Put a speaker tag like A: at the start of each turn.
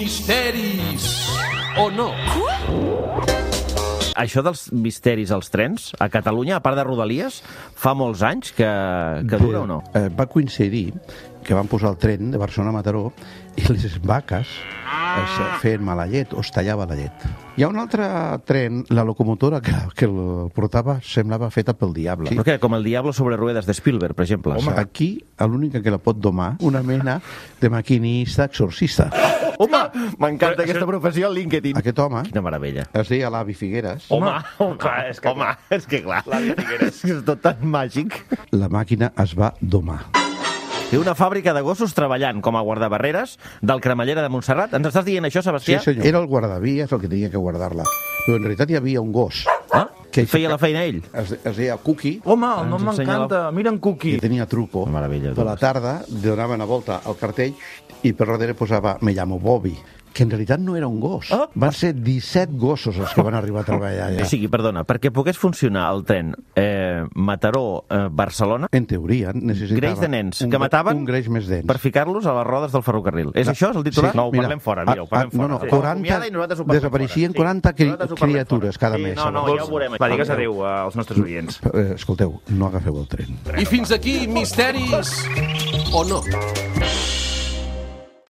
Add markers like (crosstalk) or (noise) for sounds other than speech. A: misteris o no.
B: Això dels misteris als trens, a Catalunya, a part de Rodalies, fa molts anys que, que dura o no?
C: Eh, va coincidir que van posar el tren de Barcelona a Mataró i les vaques es
B: Ah.
C: feien mala llet o es tallava la llet. Hi ha un altre tren, la locomotora que, que el portava semblava feta pel diable.
B: Però què, com el Diablo sobre ruedes de Spielberg, per exemple.
C: Home, aquí l'única que la pot domar, una mena de maquinista exorcista.
B: (laughs) Home,
D: Però
B: m'encanta
D: això-
B: aquesta professió al LinkedIn.
C: Aquest home
B: Quina meravella.
C: es deia l'avi Figueres.
B: Home, home, clar, és que, home, és que clar, és, que (laughs) és tot tan màgic.
C: La màquina es va domar.
B: Té una fàbrica de gossos treballant com a guardabarreres del cremallera de Montserrat. Ens estàs dient això,
C: Sí,
B: Sebastià?
C: senyor. Era el guardavies el que tenia que guardar-la. Però en realitat hi havia un gos.
B: Ah?
C: Que-
B: Feia la feina ell?
C: Es, es deia Cookie,
D: Home, el nom
B: Ens ensenya
D: m'encanta. Mira en Cookie.
C: i tenia truco.
B: Una meravella,
C: per la
B: doncs.
C: tarda donava una volta al cartell i per darrere posava Me llamo Bobby, que en realitat no era un gos.
B: Ah.
C: Van ser 17 gossos els que van arribar a treballar
B: O
C: allà.
B: sigui, perdona, perquè pogués funcionar el tren eh, Mataró-Barcelona,
C: En teoria necessitava...
B: greix de nens
C: un
B: que
C: gre-
B: mataven
C: Un greix més dens.
B: per ficar-los a les rodes del ferrocarril. És això, és el titular? No, ho
C: mira,
B: parlem fora, mira, ho parlem
C: ah, no,
B: fora.
C: no,
B: Sí.
C: 40
B: Ho acomiada i nosaltres ho parlem
C: desapareixien
B: fora,
C: 40 cri-
B: Nosaltres ho parlem
C: criatures
B: fora.
C: cada
B: sí,
C: mes,
B: No, no,
C: segons.
B: ja ho veurem.
D: Va, digues adéu eh, als nostres oients.
C: Eh, Escolteu, no agafeu el tren.
A: I fins aquí misteris o no.